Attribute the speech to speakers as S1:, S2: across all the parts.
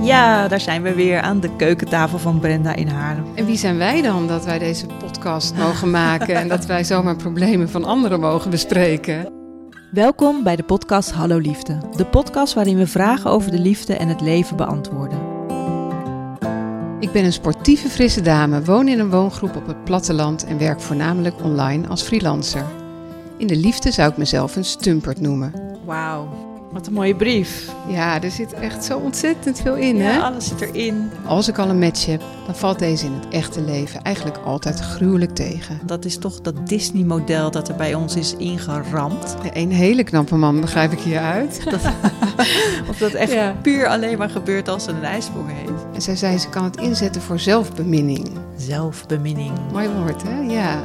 S1: Ja, daar zijn we weer aan de keukentafel van Brenda in Haarlem.
S2: En wie zijn wij dan dat wij deze podcast mogen maken en dat wij zomaar problemen van anderen mogen bespreken?
S1: Welkom bij de podcast Hallo Liefde. De podcast waarin we vragen over de liefde en het leven beantwoorden.
S2: Ik ben een sportieve frisse dame, woon in een woongroep op het platteland en werk voornamelijk online als freelancer. In de liefde zou ik mezelf een stumpert noemen.
S1: Wauw, wat een mooie brief.
S2: Ja, er zit echt zo ontzettend veel in, hè?
S1: Ja, alles zit erin.
S2: Als ik al een match heb, dan valt deze in het echte leven eigenlijk altijd gruwelijk tegen.
S1: Dat is toch dat Disney-model dat er bij ons is ingeramd.
S2: Ja, Een hele knappe man begrijp ik hieruit.
S1: Of dat echt
S2: Ja.
S1: puur alleen maar gebeurt als ze een ijsprong heeft.
S2: En zij zei, ze kan het inzetten voor zelfbeminning.
S1: Zelfbeminning.
S2: Mooi woord, hè? Ja.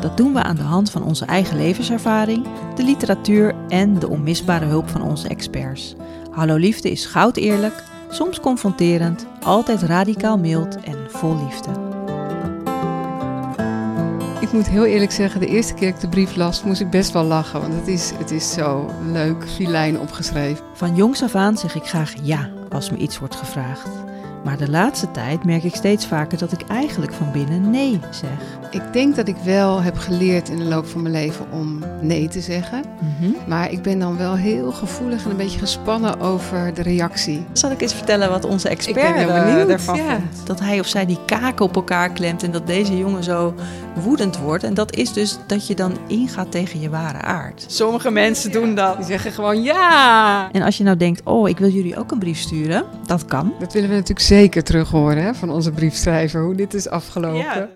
S1: Dat doen we aan de hand van onze eigen levenservaring, de literatuur en de onmisbare hulp van onze experts. Hallo Liefde is goud eerlijk, soms confronterend, altijd radicaal mild en vol liefde.
S2: Ik moet heel eerlijk zeggen, de eerste keer dat ik de brief las, moest ik best wel lachen. Want het is, het is zo leuk, filijn opgeschreven.
S1: Van jongs af aan zeg ik graag ja als me iets wordt gevraagd. Maar de laatste tijd merk ik steeds vaker dat ik eigenlijk van binnen nee zeg.
S2: Ik denk dat ik wel heb geleerd in de loop van mijn leven om nee te zeggen.
S1: Mhm.
S2: Maar ik ben dan wel heel gevoelig en een beetje gespannen over de reactie.
S1: Zal ik eens vertellen wat onze
S2: ben
S1: expert
S2: heel
S1: eh,
S2: benieuwd,
S1: daarvan
S2: ja.
S1: vindt? Dat hij of zij die kaken op elkaar klemt en dat deze jongen zo woedend wordt. En dat is dus dat je dan ingaat tegen je ware aard. Sommige mensen doen dat.
S2: Die zeggen gewoon ja!
S1: En als je nou denkt, oh, ik wil jullie ook een brief sturen, dat kan.
S2: Dat willen we natuurlijk zeker terug horen hè, van onze briefschrijver, hoe dit is afgelopen.